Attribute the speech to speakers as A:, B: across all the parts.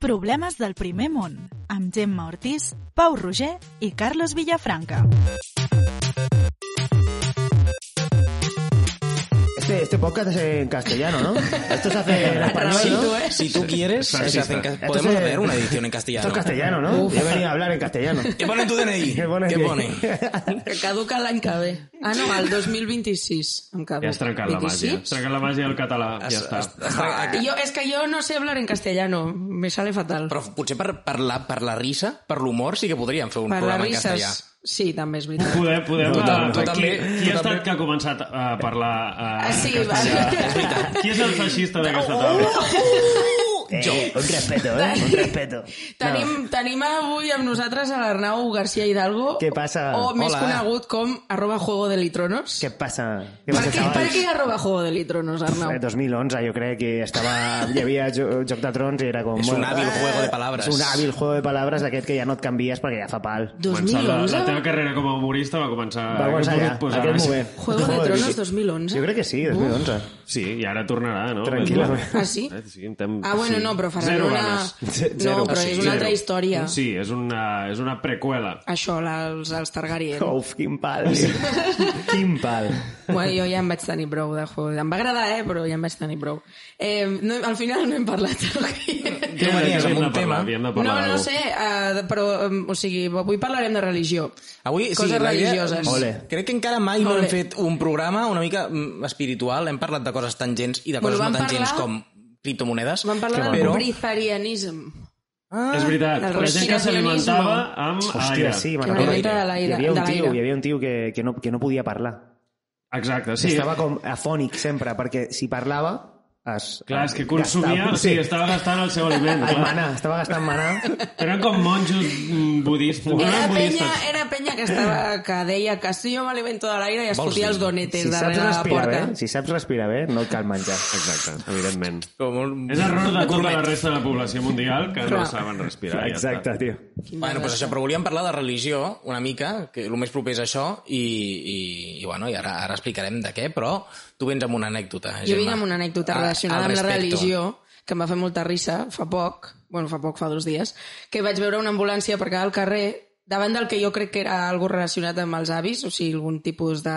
A: Problemes del primer món, amb Gemma Ortiz, Pau Roger i Carlos Villafranca.
B: Este, este podcast es en castellano, ¿no? Esto se hace en español,
C: Si,
B: ¿no?
C: tú-
D: ¿eh?
C: si tú quieres, se
E: Francisca.
C: hacen ca-
B: Esto
C: podemos
B: se-
C: hacer una edición en castellano.
B: Esto es castellano, ¿no? Yo venía a hablar en castellano.
C: ¿Qué pone en tu DNI?
B: ¿Qué pone
C: ¿Qué
B: aquí?
C: pone?
D: Que caduca l'any que ve. Ah, no, el 2026 em caduca.
E: Ja has trencat la màgia. Has
D: 26?
E: trencat la màgia del català. Ja
C: Has-
E: està.
C: has- has trencat-
D: Jo, és que jo no sé hablar en castellano, me sale fatal.
C: Però potser per, per, la, per la risa, per l'humor, sí que podríem fer un
D: per les
C: programa en
D: risses...
C: castellà.
D: Sí, també és veritat.
E: Podem, podem...
C: Tu
E: eh,
C: tam- tu
E: qui-
C: també,
E: qui,
C: tu
E: ha estat
C: també.
E: que ha començat a parlar eh,
D: Ah, sí, Oh!
E: en
D: va.
E: castellà? Qui és el feixista d'aquesta taula?
C: Oh,
B: Eh, un respeto, ¿eh? Un respeto.
D: Tenim, tenim avui amb nosaltres a l'Arnau García Hidalgo.
B: Què passa?
D: O més
C: Hola.
D: conegut com arroba Juego de Litronos.
B: ¿Qué pasa? ¿Qué
D: Per
B: pasa,
D: què, per
B: chavales?
D: què arroba Juego de Litronos,
B: Eh,
D: Arnau?
B: 2011 yo creo que estaba hi havia Jo- Joc de Trons i era com...
C: És un
B: bueno,
C: hàbil juego de palabras.
B: És un hàbil juego de paraules d'aquest que ja no et canvies perquè ja fa pal.
E: Començar La, la
D: 2011?
E: teva carrera com a humorista va començar...
B: Va començar allà,
E: aquest moment, doncs
B: en aquest
E: ara sí.
B: moment.
D: Juego de Tronos 2011?
B: Jo crec que sí, 2011.
E: Sí, i ara tornarà, no?
B: Tranquil·lament.
D: Ah, sí?
E: Eh, Sí, tem...
D: Ah, bueno, no, però faran
E: Zero
D: una...
E: ganes.
B: Zero.
D: No, però és una altra
E: Zero.
D: història.
E: Sí, és una, és una precuela.
D: Això, la- els, els Targaryen.
B: Uf, quin pal. quin pal.
D: Bueno, jo ja em vaig tenir prou de juego. Em va agradar, eh, però ja em vaig tenir prou. Eh, no, al final no hem parlat. ok?
E: Què
C: venies amb un
E: havíem de parlar?
C: tema?
E: Havíem de
D: No,
E: parlar
D: no
E: d'algú.
D: sé, eh, però eh, o sigui, avui parlarem de religió.
C: Avui,
D: Coses
C: sí, la idea-
D: religioses.
B: Ole.
C: Crec que encara mai no
D: Ole.
C: hem fet un programa una mica mm, espiritual. Hem parlat de coses tangents i de
D: Bueno,
C: coses
D: vam
C: no tangents
D: parlar-
C: com criptomonedes.
D: Vam parlar del
C: però...
D: breatharianism.
C: Ah,
E: És veritat,
D: del
E: la gent que s'alimentava amb
B: Hòstia,
E: aire.
B: sí, me'n
D: Que
B: recordo.
D: m'alimenta de l'aire,
B: Hi havia un
D: de l'aire.
B: tio, hi havia un tio que, que, no, que no podia parlar.
E: Exacte,
B: Sí.
E: sí.
B: Estava com afònic sempre, perquè si parlava... Es, eh,
E: Clar, és que consumia,
B: gastava-
E: sí, estava gastant el seu
B: El
E: aliment. clar.
B: manà, estava gastant manà.
E: Eren com monjos mm, budistes. No
D: Era
E: eren
D: penya,
E: budistes.
D: era penya que, estava, que deia que si jo m'alimento de tota l'aire i es
C: Vols
D: fotia
C: dir?
D: els donetes
B: Si saps
D: darrere de la
B: respirar
D: porta.
B: bé, si saps respirar bé, no et cal menjar.
E: Exacte, evidentment.
C: Com un...
E: És error de tota
C: gourmet.
E: la resta de la població mundial que no
D: Clar.
E: saben respirar. ja
B: Exacte, tio.
C: Bueno, pues això, però volíem parlar de religió una mica, que el més proper és això, i, i, i, bueno, i ara, ara explicarem de què, però tu vens amb una anècdota, Gemma.
D: Jo vinc amb una anècdota
C: A-
D: relacionada
C: al
D: amb la
C: respecto.
D: religió que em va fer molta risa fa poc, bueno, fa poc, fa dos dies, que vaig veure una ambulància aparcada al carrer davant del que jo crec que era algo relacionat amb els avis, o sigui, algun tipus de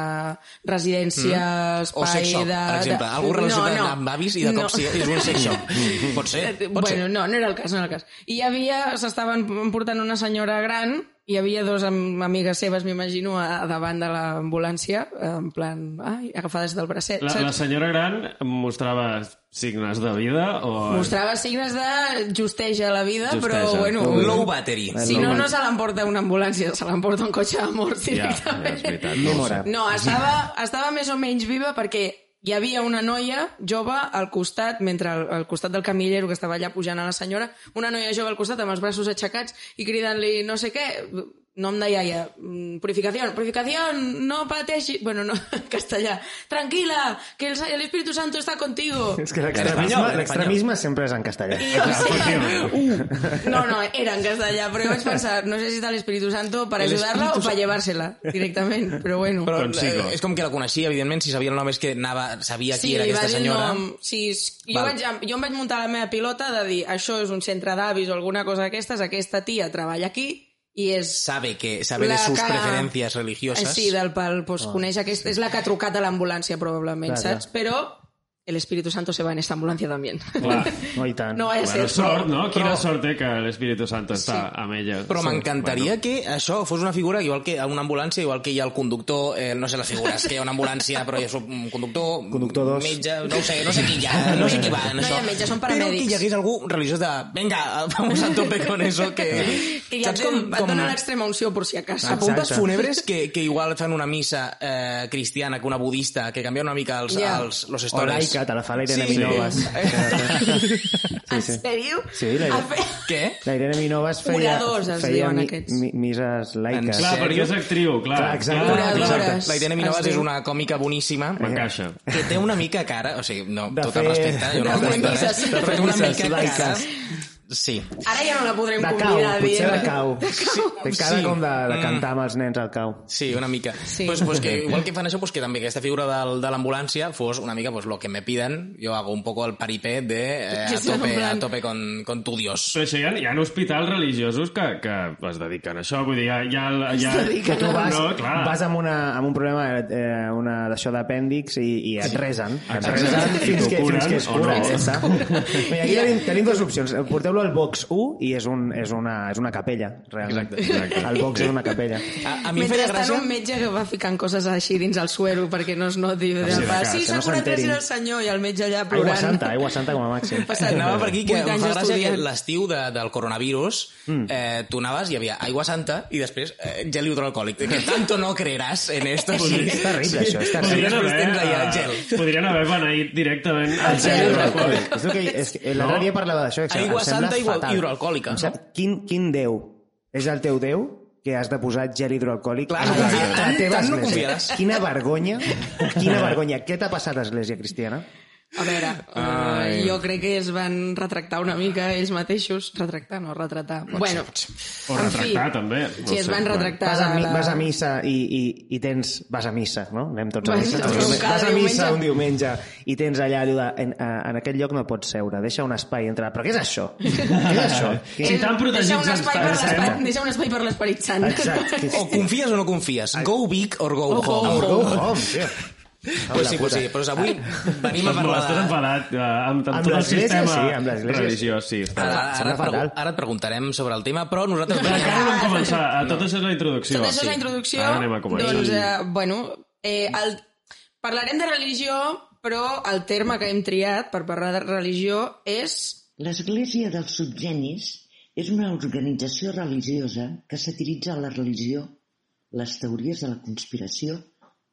D: residència, mm.
C: O
D: espai...
C: sex shop,
D: de,
C: per exemple.
D: de-
C: Algú relacionat amb avis i de cop sí, és un sex shop. Pot ser,
D: Eh,
C: pot
D: bueno,
C: ser.
D: no, no era el cas, no era el cas. I hi havia, s'estaven portant una senyora gran, hi havia dos am amigues seves, m'imagino, a, a davant de l'ambulància, en plan, ai, agafades del bracet.
E: La,
D: saps?
E: la senyora gran mostrava signes de vida o...
D: Mostrava signes de justeja a la vida,
E: Justeja.
D: però, bueno...
C: Un low battery.
D: Si no, no se l'emporta una ambulància, se l'emporta un cotxe de mort
E: Ja, ja,
D: directament.
E: és veritat.
B: No
E: ho sé.
B: mora.
D: No, estava, estava més o menys viva perquè hi havia una noia jove al costat, mentre al, al costat del camillero que estava allà pujant a la senyora, una noia jove al costat amb els braços aixecats i cridant-li no sé què, nom de iaia, mm, purificació, purificació, no pateixi... Bueno, no, en castellà. Tranquila, que el, el Espíritu Santo está contigo.
B: És que
C: espanyol,
B: l'extremisme
C: en
B: l'extremisme sempre és en castellà.
D: I, o sigui, uh, no, no, era en castellà, però jo vaig pensar, no sé si está el Espíritu Santo para
C: El
D: ayudarla
C: Espíritu
D: o para llevársela directament, però bueno.
C: Però
E: Doncs sí,
C: eh,
E: clar.
C: és com que la coneixia, evidentment, si sabia el nom és que anava, sabia qui era
D: va
C: aquesta
D: dir
C: senyora.
D: nom. Sí, s- jo,
C: Val.
D: vaig, jo em vaig muntar la meva pilota de dir això és un centre d'avis o alguna cosa d'aquestes, aquesta tia treballa aquí i és...
C: Sabe que sabe de
D: La
C: sus
D: que-
C: preferències religioses.
D: Sí, del pal, pues,
C: Ah.
D: coneix aquesta, és la que ha trucat a l'ambulància probablement,
B: Clar,
D: saps? Però el Espíritu Santo se va en esta ambulància també.
E: Clar.
B: No, i tant.
D: No vaya a
E: Bueno,
D: ser.
E: sort, no? Quina
C: Però-
E: sort té que l'Espíritu Santo està amb ella.
C: Però
E: Sí.
C: m'encantaria que això fos una figura, igual que a una ambulància, igual que hi ha el conductor, eh, no sé les figures, que hi ha una ambulància, però hi ha un conductor,
B: Conductor dos.
C: metge, no ho sé, no sé qui hi ha, no sé qui va en
D: No hi
C: això.
D: ha metges, són
C: Però
D: paramèdics.
C: que hi hagués algú religiós de, venga, vamos a tope con eso, que...
D: Que ja et,
C: Saps
D: com, et
C: com-
D: donen l'extrema unció, per si acaso.
C: a puntes
B: Exacte.
C: fúnebres que, que igual fan una missa eh, cristiana que una budista, que canvia una mica els,
D: Ja.
C: yeah. els, los
B: O
C: stories.
B: laica, te la fa la Irene
C: Sí.
B: Minovas.
D: En sèrio?
B: Sí, la-
D: A fer-
C: Què?
B: La Irene Minovas feia,
D: Oradors, es
B: feia
D: diuen
B: mi,
D: aquests.
B: mi, mises laiques.
E: Clar,
C: Sí.
E: perquè és actriu, clar.
B: Clar, exacte.
E: Clar, clar.
D: Oradores.
C: La Irene
B: Ah,
D: Es
C: Minovas
D: diu.
C: és una còmica boníssima.
E: M'encaixa.
C: que té una mica cara, o sigui, no,
B: De
C: tot el
B: fer-
C: respecte, jo no
B: de
C: el
B: fer
C: respecte,
D: misses.
C: eh? però té una
B: Misses
C: mica cara
B: laiques.
C: Sí.
D: Ara ja no la podrem
B: De cau,
D: convidar.
B: potser
D: dient-
B: de cau. Té cara
C: sí.
B: com de, de
C: Mm.
B: cantar amb els nens al cau.
C: Sí, una mica.
D: Sí.
C: Sí. Pues, pues que, igual que fan això, pues que també aquesta figura del, de l'ambulància fos una mica pues, lo que me pidan, jo hago un poco el paripé de eh,
D: Sí,
C: a,
D: sí, en
C: tope,
D: plan-
C: a tope con, con tu dios.
E: Però això hi ha, hi ha hospitals religiosos que, que es dediquen a això, vull dir, hi ha... Hi ha, hi ha...
B: Que tu vas,
E: no, clar.
B: vas amb, una, amb un problema eh, una d'això d'apèndix i, i et resen. Et
E: Exacte.
B: resen fins
E: I t'ho
B: que, fins
E: curen,
B: que es
E: o
B: cura.
E: no.
B: ja està. Mira, aquí tenim, tenim dues opcions. Porteu-lo al box 1 i és, un, és, una, és una capella, realment.
C: Exacte, exacte.
B: El box és una capella.
C: A, a mi em feia
D: Mentrestant,
C: gràcia...
D: un metge que va ficant coses així dins el suero perquè no es noti. de
E: sí, de
D: fa,
E: cara,
D: Sí,
B: que
D: s'ha
B: no
D: curat gràcies
B: s'enterin.
D: al senyor i el metge allà plorant.
B: Aigua santa, aigua santa com a màxim.
D: Passat
C: Anava per aquí que
D: vuit
C: em
D: anys
C: fa gràcia que
D: estudiant.
C: l'estiu de, del coronavirus mm. eh, tu anaves i hi havia aigua santa i després eh, gel hidroalcohòlic. Que tanto no creeràs en esto.
B: Sí, és terrible, això, és terrible.
C: Podrien
E: Podrien haver,
C: haver...
E: eh,
C: Gel.
E: podrien haver beneït directament el
B: El
E: gel.
B: gel
E: hidroalcohòlic.
B: hidroalcohòlic. És el que, és que l'altre
E: No.
B: dia parlava d'això. que em
C: Aigua
B: sembla
C: santa, aigua
B: fatal.
C: hidroalcohòlica,
B: Em sembla- Quin, quin déu? És el teu déu? que has de posar gel hidroalcohòlic
C: Clar,
B: a la-
C: no confia-
B: a la
C: tant-
B: teva
C: tant no
B: església.
C: confiaràs.
B: Quina vergonya, quina vergonya. Què t'ha passat a l'església cristiana?
D: A veure, uh, jo crec que es van retractar una mica ells mateixos. Retractar, no, retratar. bueno,
E: O
D: en
E: retractar,
D: fi,
E: també.
D: Sí, es van retractar.
B: Vas a, mi,
D: la-
B: vas a missa i, i, i tens... Vas a missa, no? Anem tots a
D: Vas-
B: missa.
D: vas
B: Tots
D: un cada
B: vas a missa
D: diumenge.
B: un diumenge i tens allà allò de... En, a, en aquest lloc no pots seure, deixa un espai entre... Però què és això? Què és això? Què-
E: Si t'han protegit,
D: Deixa un espai per
E: ens pensem.
D: l'esperit- deixa un espai per l'esperit sant.
B: Exacte. què- Oh,
C: O confies o no confies. Go big or go
D: O go
C: home.
B: Or go home, tio.
C: Pues sí, pues sí. Però avui venim a
E: Estàs,
C: parlar...
E: estàs
C: de-
E: enfadat eh, amb,
B: Amb
E: amb tot el
B: l'església,
E: sistema
B: sí, amb l'església.
E: religiós. Sí,
D: Ah.
E: està.
C: Ara, ara,
B: Sembla
C: et pregu-
B: fatal.
C: ara et preguntarem sobre el tema, però nosaltres...
E: Encara no hem començat. Eh, Tot això és la introducció.
D: Tot això és la
E: Sí.
D: introducció.
E: Ara anem a començar.
D: Doncs, eh, bueno, eh, el... parlarem de religió, però el terme que hem triat per parlar de religió és...
F: L'Església dels Subgenis és una organització religiosa que satiritza la religió, les teories de la conspiració,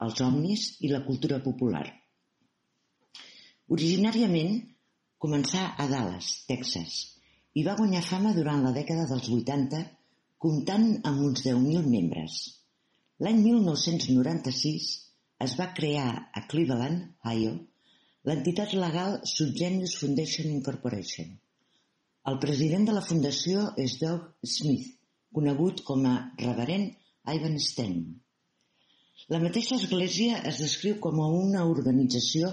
F: els omnis i la cultura popular. Originàriament començà a Dallas, Texas, i va guanyar fama durant la dècada dels 80, comptant amb uns 10.000 membres. L'any 1996 es va crear a Cleveland, Ohio, l'entitat legal Subgenius Foundation Incorporation. El president de la fundació és Doug Smith, conegut com a reverend Ivan Stein. La mateixa església es descriu com a una organització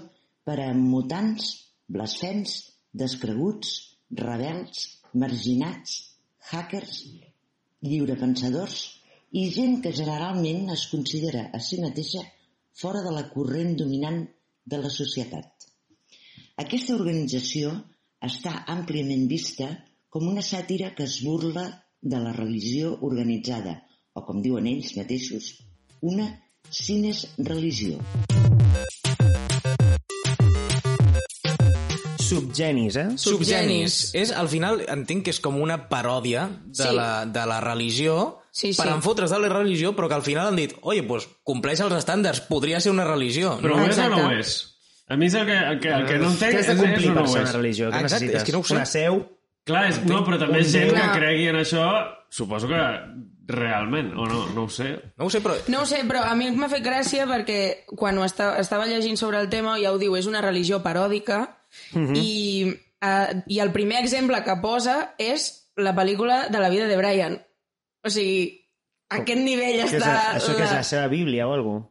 F: per a mutants, blasfems, descreguts, rebels, marginats, hackers, lliurepensadors i gent que generalment es considera a si mateixa fora de la corrent dominant de la societat. Aquesta organització està àmpliament vista com una sàtira que es burla de la religió organitzada, o com diuen ells mateixos, una cines religió.
B: Subgenis, eh?
C: Subgenis. És, al final, entenc que és com una paròdia de,
D: Sí.
C: la, de la religió
D: Sí,
C: per
D: sí.
C: enfotre's de la religió, però que al final han dit oye, pues, compleix els estàndards, podria ser una religió.
E: Però ho és o no ho
D: Exacte.
E: és? A mi és el que, el que, el que no entenc
B: Què
E: és,
B: has de
E: és
B: complir
E: o
B: per
E: no ho
B: ser
E: és.
B: una religió? Què
C: Exacte,
B: necessites?
C: és que no ho sé.
B: Una seu?
E: Clar, és, no, però també és gent que
D: Clar.
E: cregui en això, suposo que realment, o no, no ho sé.
C: No ho sé, però...
D: No ho sé, però a mi m'ha fet gràcia perquè quan ho esta, estava llegint sobre el tema ja ho diu, és una religió paròdica
E: Mhm.
D: i, eh, i el primer exemple que posa és la pel·lícula de la vida de Brian. O sigui, a aquest nivell
B: Què és,
D: està...
B: la- això que és la seva Bíblia o alguna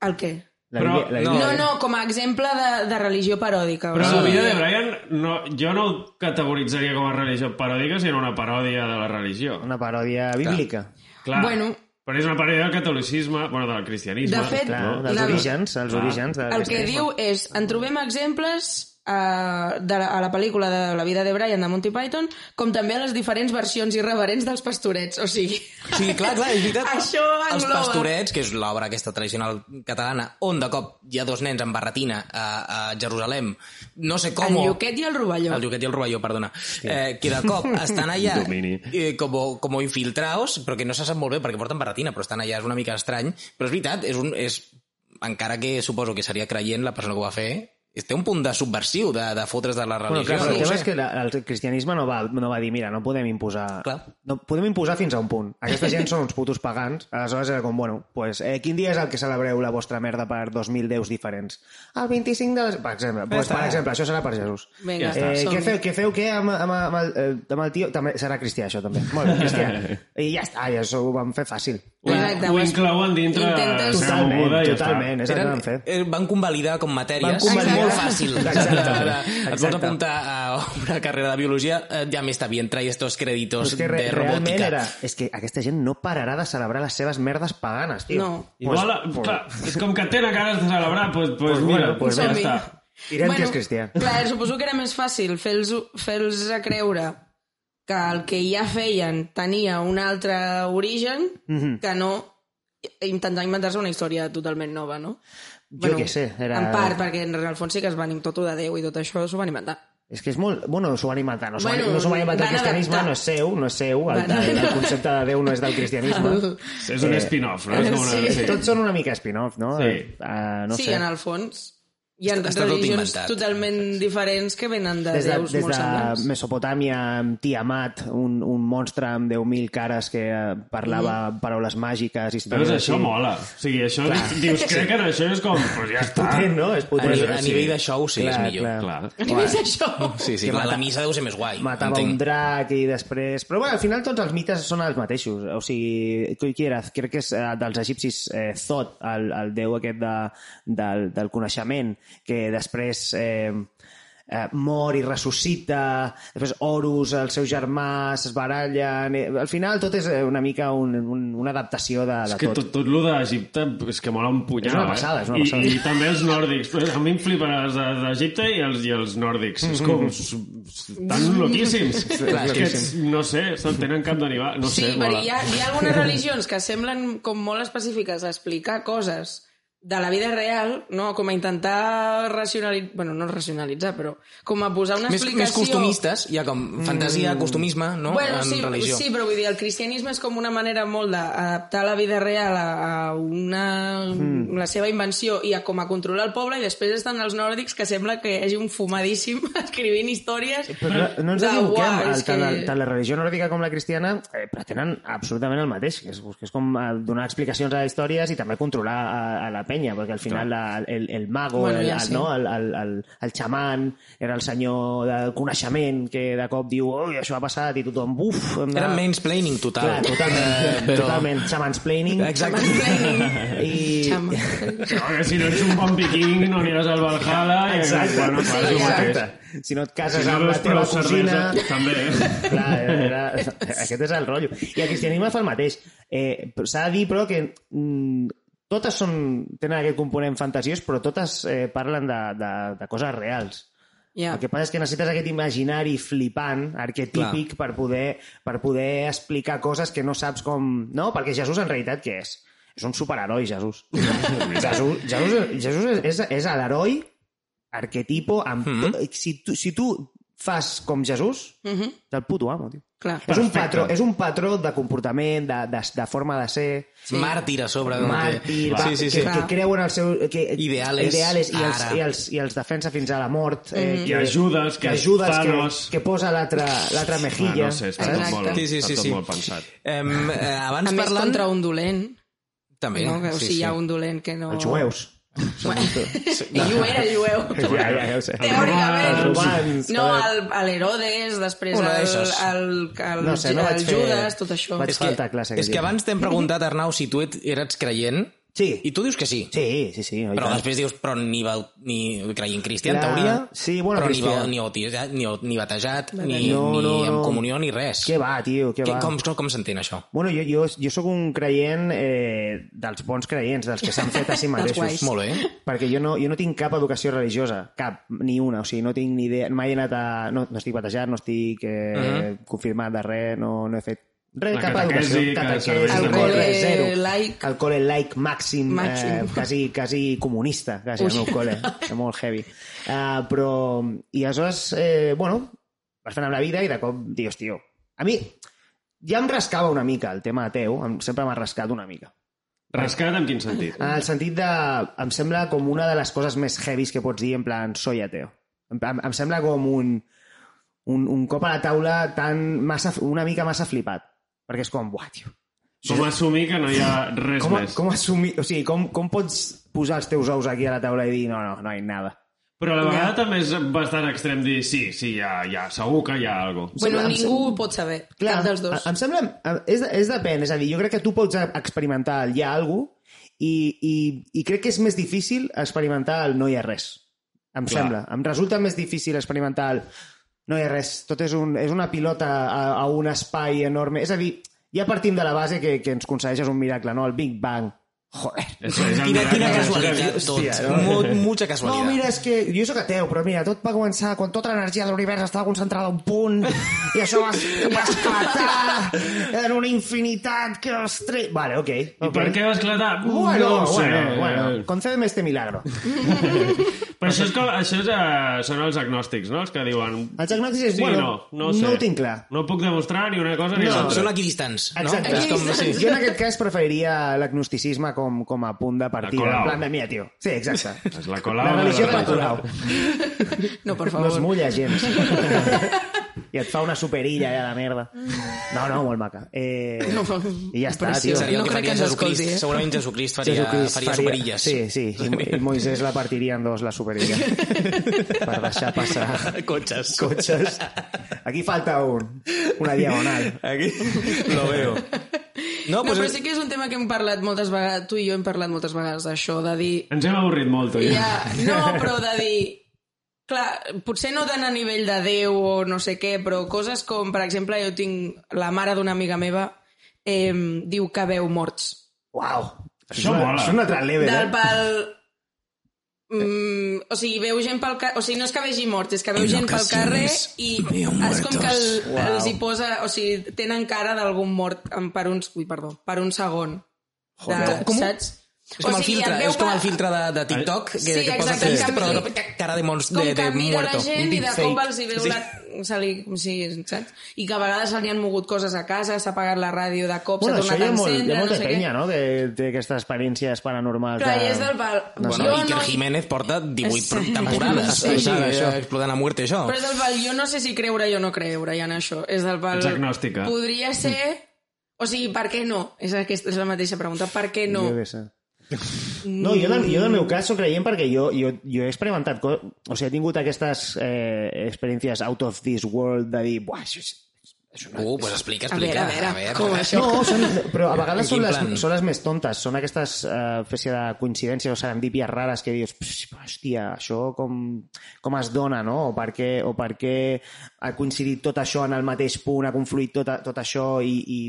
B: cosa?
D: El què?
B: La
E: Però,
B: Bíblia, la
C: no.
B: Bíblia.
D: No, no, com a exemple de, de religió paròdica.
E: eh. Però
B: Ah,
D: o
E: la
D: sigui,
E: vida de Brian no, jo no ho categoritzaria com a religió paròdica, sinó una paròdia de la religió.
B: Una paròdia bíblica.
E: Clar,
D: Bueno.
E: però és una paròdia del catolicisme, bueno, del cristianisme.
D: De fet,
B: Clar,
D: No,
B: dels
D: la-
B: orígens, els orígens. De
D: El que diu és, en trobem exemples eh, de la, a la pel·lícula de la vida de Brian de Monty Python, com també a les diferents versions irreverents dels pastorets, o sigui...
C: Sí, clar, clar, és veritat.
D: Això
C: Els
D: engloba.
C: Pastorets, que és l'obra aquesta tradicional catalana, on de cop hi ha dos nens en barretina a, a Jerusalem, no sé com...
D: El Lluquet i el Rovelló.
B: Ah.
C: El Lluquet i el Rovelló, perdona. Eh, que de cop estan allà
E: Domini.
C: eh, com, com infiltraos, però que no se sap molt bé perquè porten barretina, però estan allà, és una mica estrany. Però és veritat, és un, és, encara que suposo que seria creient la persona que ho va fer, té un punt de subversiu de, de fotre's de la
B: Bueno, clar,
C: religió.
B: però el
C: no ho
B: tema
C: sé.
B: és que la, el cristianisme no va, no va dir mira, no podem imposar...
C: Clar.
B: No, podem imposar fins a un punt. Aquesta gent són uns putos pagans. Aleshores era com, bueno, pues, eh, quin dia és el que celebreu la vostra merda per 2.000 déus diferents? El 25 de... les- Per exemple, pues, per exemple això serà per Jesús.
D: Vinga,
B: eh,
D: som-hi.
B: què feu, què feu què amb, amb, amb, el, eh, amb el tio? També serà cristià, això, també. Molt bé, cristià. I ja està, ja això ho vam fer fàcil.
E: Ho,
D: Exacte,
E: ho
D: ho has-
E: inclouen dintre de la
D: Intentes-
E: seva moguda i ja està.
B: totalment, és el que
C: Eren,
B: vam fer.
C: eh, van convalidar com matèries
B: Van convalidar.
C: molt fàcil.
B: Exacte.
C: De- de- Et vols
B: Exacte.
C: apuntar a una carrera de biologia, eh, ja me está bien, trae estos
B: Però
C: créditos
B: és que re
C: de
B: realment
C: robótica.
B: era... És que aquesta gent no pararà de celebrar les seves merdes paganes, tio.
D: No.
E: Igual, eh, clar, és com que tenen ganes de celebrar, doncs pues,
B: Pues
E: pues
B: mira,
E: mira,
B: pues
E: ja
D: Som-hi.
E: està.
B: Direm que és cristià.
D: Clar, suposo que era més fàcil fer-los fer a creure que el que ja feien tenia un altre origen
B: Mhm.
D: que no intentar inventar-se una història totalment nova, no?
B: Jo què sé, era-
D: En part, perquè en el fons sí que es van tot de Déu i tot això s'ho van inventar.
B: És que és molt... Bueno, s'ho van inventar. No s'ho
D: Bueno,
B: bueno, no s'ho van inventar el
D: van
B: cristianisme,
D: adaptar.
B: no és seu, no és seu. El,
D: Van
B: el, el
D: adaptar.
B: concepte de Déu no és del cristianisme.
E: És un
B: Eh,
E: spin-off, no? És com una...
D: sí.
E: Sí.
B: Tots són una mica spin-off, no?
E: Sí.
B: Uh, no
D: sí,
B: sé.
D: en el fons hi ha
C: Està- està tot
D: religions
C: inventat.
D: totalment diferents que venen de,
B: Des de,
D: déus
B: des
D: molt semblants.
B: de Mesopotàmia, amb Tiamat, un, un monstre amb 10.000 cares que eh, parlava
D: Mm.
B: paraules màgiques...
E: Veus,
B: històries
E: això
B: així.
E: mola. O sigui, això... Dius, crec que en això és com... Pues ja està.
B: Potent, no? És
C: A,
B: potent.
C: ni-
E: Pues,
C: a
E: sí.
C: nivell de show sí, és
B: Clar,
C: millor.
B: clar.
E: Clar.
D: A nivell d'això...
C: Sí, sí,
B: Que
C: clar,
B: mata-
C: la missa deu ser més guai.
B: matava
C: entenc.
B: un drac i després... Però bueno, al final tots els mites són els mateixos. O sigui, qui era? Crec que és eh, dels egipcis eh, Thoth, el, el déu aquest de, del, del coneixement, que després... Eh, eh, mor i ressuscita, després Horus, el seu germà, es barallen... eh, Al final tot és eh, una mica un, un, una adaptació de,
E: És
B: de
E: que
B: tot.
E: tot, tot lo d'Egipte és que mola un punyal,
B: És una passada, és una
E: eh?
B: passada.
E: I, I també els nòrdics. A mi em flipen els de- d'Egipte i, els, i els nòrdics. És com... s- Estan loquíssims. És que, ets- no sé, se'n tenen cap d'animal. No
D: Sí,
E: sé,
D: perquè
E: mola.
D: hi ha, hi ha algunes religions que semblen com molt específiques a explicar coses de la vida real, no? com a intentar racionalitzar... Bueno, no racionalitzar, però com a posar una
C: Més,
D: explicació...
C: més costumistes, hi ha com fantasia,
B: Mm.
C: costumisme, no?
D: Bueno,
C: en
D: sí,
C: religió.
D: sí, però vull dir, el cristianisme és com una manera molt d'adaptar la vida real a, a una, mm. la seva invenció i a com a controlar el poble i després estan els nòrdics que sembla que hi hagi un fumadíssim escrivint històries
B: Però no- no ens
D: de,
B: equivoquem,
D: "Uah,
B: el,
D: és
B: tant,
D: que-
B: el, tant la religió nòrdica com la cristiana eh, pretenen absolutament el mateix, que és, que és com eh, donar explicacions a històries i també controlar a, a la penya, perquè al final la, el, el mago,
D: Bueno,
B: bueno, el,
D: ja
B: el,
D: sí.
B: no, el, el, el, el xaman, era el senyor del coneixement que de cop diu ui, això ha passat i tothom buf, hem de...
C: Era mansplaining total.
B: Clar, totalment,
C: Eh,
B: però... totalment, xamansplaining.
C: Exacte.
B: I...
D: Xama.
E: No, que si no ets un bon viking no aniràs al Valhalla. i-
B: Exacte,
E: Bueno, clar, és el mateix.
B: exacte. Si no et cases
E: Si no
B: amb la
E: veus prou
B: teva
E: cervesa,
B: cosina...
E: també. eh?
B: Clar, era, aquest és el rotllo. I el cristianisme fa el mateix. Eh, però S'ha de dir, però, que mm, totes són, tenen aquest component fantasiós, però totes eh, parlen de, de, de coses reals.
D: Ja.
B: El que passa és que necessites aquest imaginari flipant, arquetípic, per poder, per poder explicar coses que no saps com... No, perquè Jesús en realitat què és? És un superheroi, Jesús. Jesús, Jesús, Jesús és, és, és l'heroi arquetipo. Amb... Mm -hmm. si, tu, si tu fas com Jesús,
D: Mhm,
B: és el puto amo, tio.
D: clar.
B: És un,
E: Perfecte.
B: patró, és un patró de comportament, de, de, de forma de ser,
C: Sí. Màrtir a sobre. no?
B: màrtir, va,
C: Ah, Sí, sí, sí.
B: que, que creu en el seu... Que,
C: Ideales,
B: ideales i, els,
C: ara.
B: i, els, i els defensa fins a la mort. Eh,
D: Mhm.
E: I ajudes, que
B: que ajudes,
E: Thanos-
B: que, que posa l'altra l'altra
E: Ah,
B: mejilla.
E: no sé, està
D: Exacte.
E: tot molt,
C: Sí, sí, sí,
E: està tot
C: sí.
E: molt pensat.
C: Em, eh, abans
D: A més,
C: parlant...
D: contra un dolent.
C: També,
D: no? Que, o sigui, hi ha un dolent que no...
B: Els jueus. Són tot-
D: Ell ho era, ell ho era.
B: Ja, ja, ja ho sé. Els
D: Teòricament.
B: romans,
D: No,
B: joder.
D: el, a l'Herodes, després
C: Una
D: el,
C: d'aixes.
D: el, el,
B: No sé, no
D: el
B: vaig fer-
D: Judas, tot això.
B: Vaig-
C: És que,
B: Falta classe,
C: és
B: que
C: que
B: diuen.
C: abans t'hem preguntat, Arnau, si tu et, eres creient,
B: Sí,
C: i tu dius que sí.
B: sí, sí, sí. oi
C: Però
B: tant.
C: després dius, però ni, va, ni creient cristià, en
B: Clar,
C: teoria,
B: sí, bueno,
C: però ni,
B: cristià.
C: va, ni, bautejat, ni, ni batejat, ni,
B: No,
C: ni
B: no, no.
C: amb comunió, ni res.
B: Què va, tio, què
C: Què-
B: va?
C: com com, com s'entén això?
B: Bueno, jo, jo, jo sóc un creient eh, dels bons creients, dels que s'han fet a si mateixos.
D: guais.
C: Molt bé. eh?
B: Perquè jo no, jo no tinc cap educació religiosa, cap, ni una, o sigui, no tinc ni idea, mai he anat a... No, no estic batejat, no estic eh, confirmat de res, no, no he fet res,
E: Mhm. La
B: cap
E: catequesi,
B: educació.
E: que
B: catequesi,
E: serveix
D: de
B: res,
D: col·le
B: zero.
D: laic.
B: El col·le laic màxim, màxim. Eh,
D: Màxim.
B: quasi, quasi comunista, quasi, el meu col·le, és molt heavy. Uh, però, i aleshores, eh, bueno, vas fent amb la vida i de cop dius, tio, a mi ja em rascava una mica el tema ateu, em, sempre m'ha rascat una mica.
E: Rascat en quin sentit?
B: En Ah, el sentit de... Em sembla com una de les coses més heavies que pots dir en plan, soy ateo. Em, em, em sembla com un, un, un cop a la taula tan massa, una mica massa flipat. Perquè és com, buah, tio.
E: Com assumir que no hi ha res
B: Com,
E: més.
B: com, assumir, o sigui, com, com pots posar els teus ous aquí a la taula i dir no, no, no hi ha nada.
E: Però a la vegada també és bastant extrem dir sí, sí, ja, ja, segur que hi ha alguna cosa.
D: Bueno, ningú ho pot saber, cap dels dos.
B: Em, em sembla... em- És, és depèn, és a dir, jo crec que tu pots experimentar el hi ha alguna cosa i, i, i crec que és més difícil experimentar el no hi ha res. Em
E: Clar.
B: sembla. Em resulta més difícil experimentar el no hi ha res. Tot és, un, és una pilota a, a un espai enorme. És a dir, ja partim de la base que, que ens concedeixes un miracle, no? El Big Bang. Joder.
E: És, és el
C: Quina,
E: miracle
C: quina
E: de-
C: casualitat, tot.
B: Hòstia, no?
C: Mo, mucha
B: No,
C: casualitat.
B: mira, és que jo sóc ateu, però mira, tot va començar quan tota l'energia de l'univers estava concentrada a un punt i això va, va esclatar en una infinitat que els tre... Vale, ok.
E: I
B: okay.
E: per què va esclatar?
B: Bueno,
E: no ho
B: no,
E: sé.
B: bueno, bueno, concédeme este milagro.
E: Però això, és com, això és, eh, són els agnòstics, no? Els que diuen...
B: Els agnòstics és,
E: Sí,
B: bueno,
E: no, no, ho sé.
B: no ho tinc clar.
E: No puc demostrar ni una cosa ni
B: No,
C: Són,
E: l'altra.
C: són equidistants, no?
B: Exacte.
C: És com, sí.
B: Jo en aquest cas preferiria l'agnosticisme com, com a punt de partida.
E: Colau.
B: En plan de, mira, tio. Sí, exacte.
E: És la Colau.
B: La religió de la
E: religió.
B: Colau.
D: No,
B: No
D: per
B: es
D: favor.
B: mulla gens. I et fa una superilla allà de merda. No, no, molt maca. Eh,
D: No,
B: I ja està,
D: preciosa.
B: tio.
D: No
C: Seria el que
D: crec que
C: faria
D: ens escolti,
C: Jesucrist.
D: eh?
C: Segurament Jesucrist faria,
B: Jesucrist
C: faria superilles.
B: Sí, sí, i, i Moisés la partiria en dos, la superilla. per deixar passar
C: Cotxes.
B: cotxes. Aquí falta un, una diagonal.
C: Aquí lo veo.
D: No, però sí que és un tema que hem parlat moltes vegades, tu i jo hem parlat moltes vegades d'això, de dir...
E: Ens hem avorrit molt, tu. Ja.
D: Ja, no, però de dir... Clar, potser no tant a nivell de Déu o no sé què, però coses com, per exemple, jo tinc la mare d'una amiga meva eh, diu que veu morts.
B: Uau.
E: Això
B: és una-
E: mola.
B: És un altre level,
D: Del
B: eh?
D: pal... Mm, o sigui, veu gent pel carrer... O sigui, no és que vegi morts, és que veu
C: En
D: gent pel carrer
C: ocasiones
D: i
C: veo
D: és com que el,
B: muertos. Uau.
D: els hi posa... O sigui, tenen cara d'algun mort en- per uns... Ui, perdó, per un segon. De,
C: Joder. Com-
D: saps?
C: És com, el filtre,
D: et
C: és com
D: pa-
C: el filtre de, de TikTok que,
D: Sí,
C: que posa
D: exacte,
C: trist,
D: que
C: però
D: mira-
C: de cop cara de, mons,
D: com
C: de, de
D: que mira
C: muerto.
D: la gent
C: un
D: i de
C: deepfake.
D: cop els hi veu la... Se li, com si, saps? I que a vegades se li han mogut coses a casa, s'ha apagat la ràdio de cop,
B: Bueno,
D: s'ha
B: això hi
D: tornat
B: ha,
D: a
B: molt, hi
D: encendre,
B: ha
D: no
B: molta
D: sé
B: penya,
D: què.
B: no?, que té aquestes experiències paranormals.
D: Clar,
B: de-
D: i és del pal...
C: Bueno,
D: jo
C: Iker
D: no, hi-
C: Jiménez porta 18
D: Sí.
C: temporades.
D: Sí.
C: Sí, sí,
B: Sí, això.
C: explotant a muerte, això.
D: Però és del pal, jo no sé si creure o no creure ja en això. És del pal...
E: Ets agnòstica.
B: Mm.
D: Podria ser... O sigui, per què no? És, aquesta, és la mateixa pregunta. Per què no?
B: Jo què sé.
D: Mm.
B: No, jo, del- jo en el meu cas sóc creient perquè jo, jo, jo he experimentat... co- O sigui, he tingut aquestes eh, experiències out of this world de dir...
C: Ah,
B: Buah, això és,
C: Uh, pues explica,
D: A veure,
C: explica.
D: a veure, com això?
B: No, són, però a vegades
C: En quin
B: són les,
C: plan?
B: són les més tontes, són aquestes eh, espècie de coincidències o serendípies rares que dius, "Pss, hòstia, això com, com es dona, no? O per, què, o per què ha coincidit tot això en el mateix punt, ha confluït tot, tot això i... i...